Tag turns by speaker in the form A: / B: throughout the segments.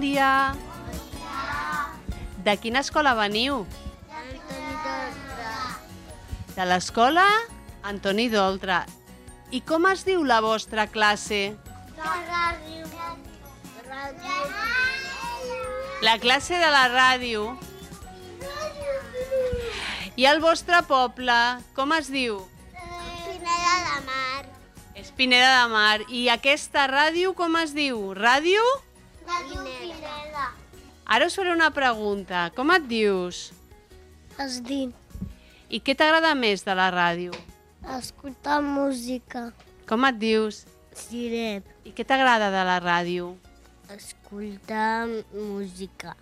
A: dia. De quina escola veniu? De l'escola Antoni Doltra. I com es diu la vostra classe? La classe de la ràdio. I el vostre poble, com es diu? Espineda de Mar. I aquesta ràdio com es diu? Ràdio? Ara us faré una pregunta. Com et dius?
B: Es diu
A: I què t'agrada més de la ràdio?
B: escoltar música.
A: Com et dius?
B: Sirep,
A: I què t'agrada de la ràdio?
B: escoltar música.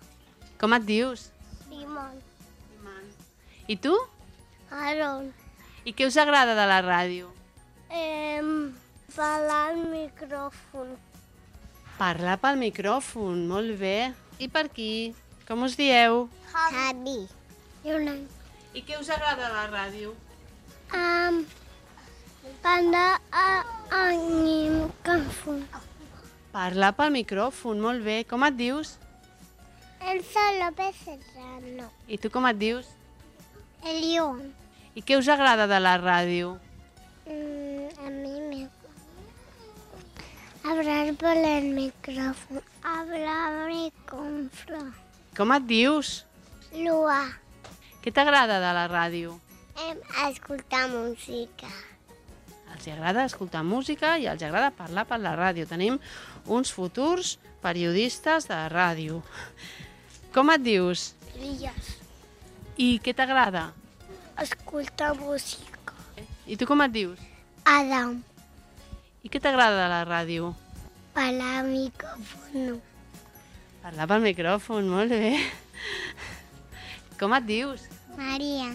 A: Com et dius?
B: Simon,
A: I tu?
B: Aaron,
A: I què us agrada de la ràdio?
B: eh, parlar al micròfon.
A: Parlar pel micròfon, molt bé. I per aquí? Com us dieu?
B: Javi. Jonan.
A: I què us agrada de la ràdio?
B: Um, panda a anim canfun.
A: Parlar pel micròfon, molt bé. Com et dius?
B: Elsa López Serrano.
A: I tu com et dius?
B: Elion.
A: I què us agrada de la ràdio?
B: Mm, a mi me... Hablar por el micrófono. Hablarme con Flor.
A: Com et dius?
B: Lua.
A: Què t'agrada de la ràdio?
B: Em, escoltar música.
A: Els hi agrada escoltar música i els hi agrada parlar per la ràdio. Tenim uns futurs periodistes de ràdio. Com et dius?
B: Elias.
A: I què t'agrada?
B: Escoltar música.
A: I tu com et dius?
B: Adam.
A: I què t'agrada de la ràdio?
B: Parlar al micrófono.
A: Parlar pel micròfon, molt bé. Com et dius?
B: Maria.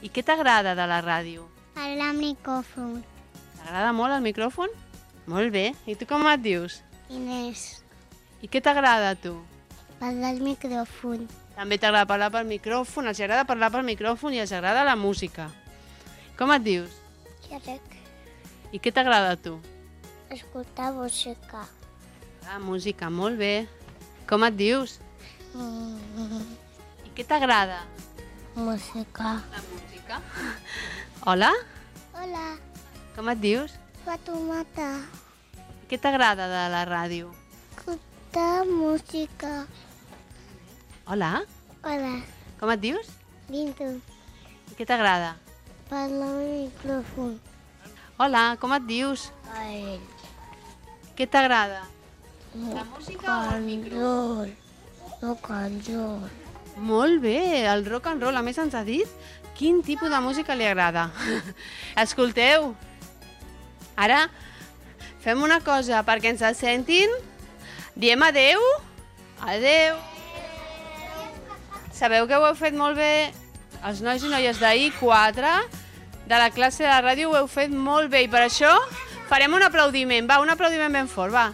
A: I què t'agrada de la ràdio?
B: Parlar al micrófono.
A: T'agrada molt el micròfon? Molt bé. I tu com et dius?
B: Inés.
A: I què t'agrada a tu?
B: Parlar al micròfon.
A: També t'agrada parlar pel micròfon, els agrada parlar pel micròfon i els agrada la música. Com et dius?
B: Crec.
A: I què t'agrada a tu?
B: Escoltar música.
A: La música, molt bé. Com et dius?
B: Mm.
A: I què t'agrada?
B: Música.
A: La música. Hola,
B: Hola.
A: com et dius?
B: Fatumata.
A: I què t'agrada de la ràdio?
B: Escoltar música.
A: Hola,
B: Hola.
A: com et dius?
B: Vinto.
A: I què t'agrada?
B: Parlar al micròfon.
A: Hola, com et dius?
B: Ai.
A: Què t'agrada? La música o el micro?
B: Canjol. No canjol.
A: Molt bé, el rock and roll. A més, ens ha dit quin tipus de música li agrada. Escolteu, ara fem una cosa perquè ens el sentin. Diem adeu. Adeu. Sabeu que ho heu fet molt bé els nois i noies d'ahir, 4, de la classe de la ràdio, ho heu fet molt bé i per això farem un aplaudiment. Va, un aplaudiment ben fort, va.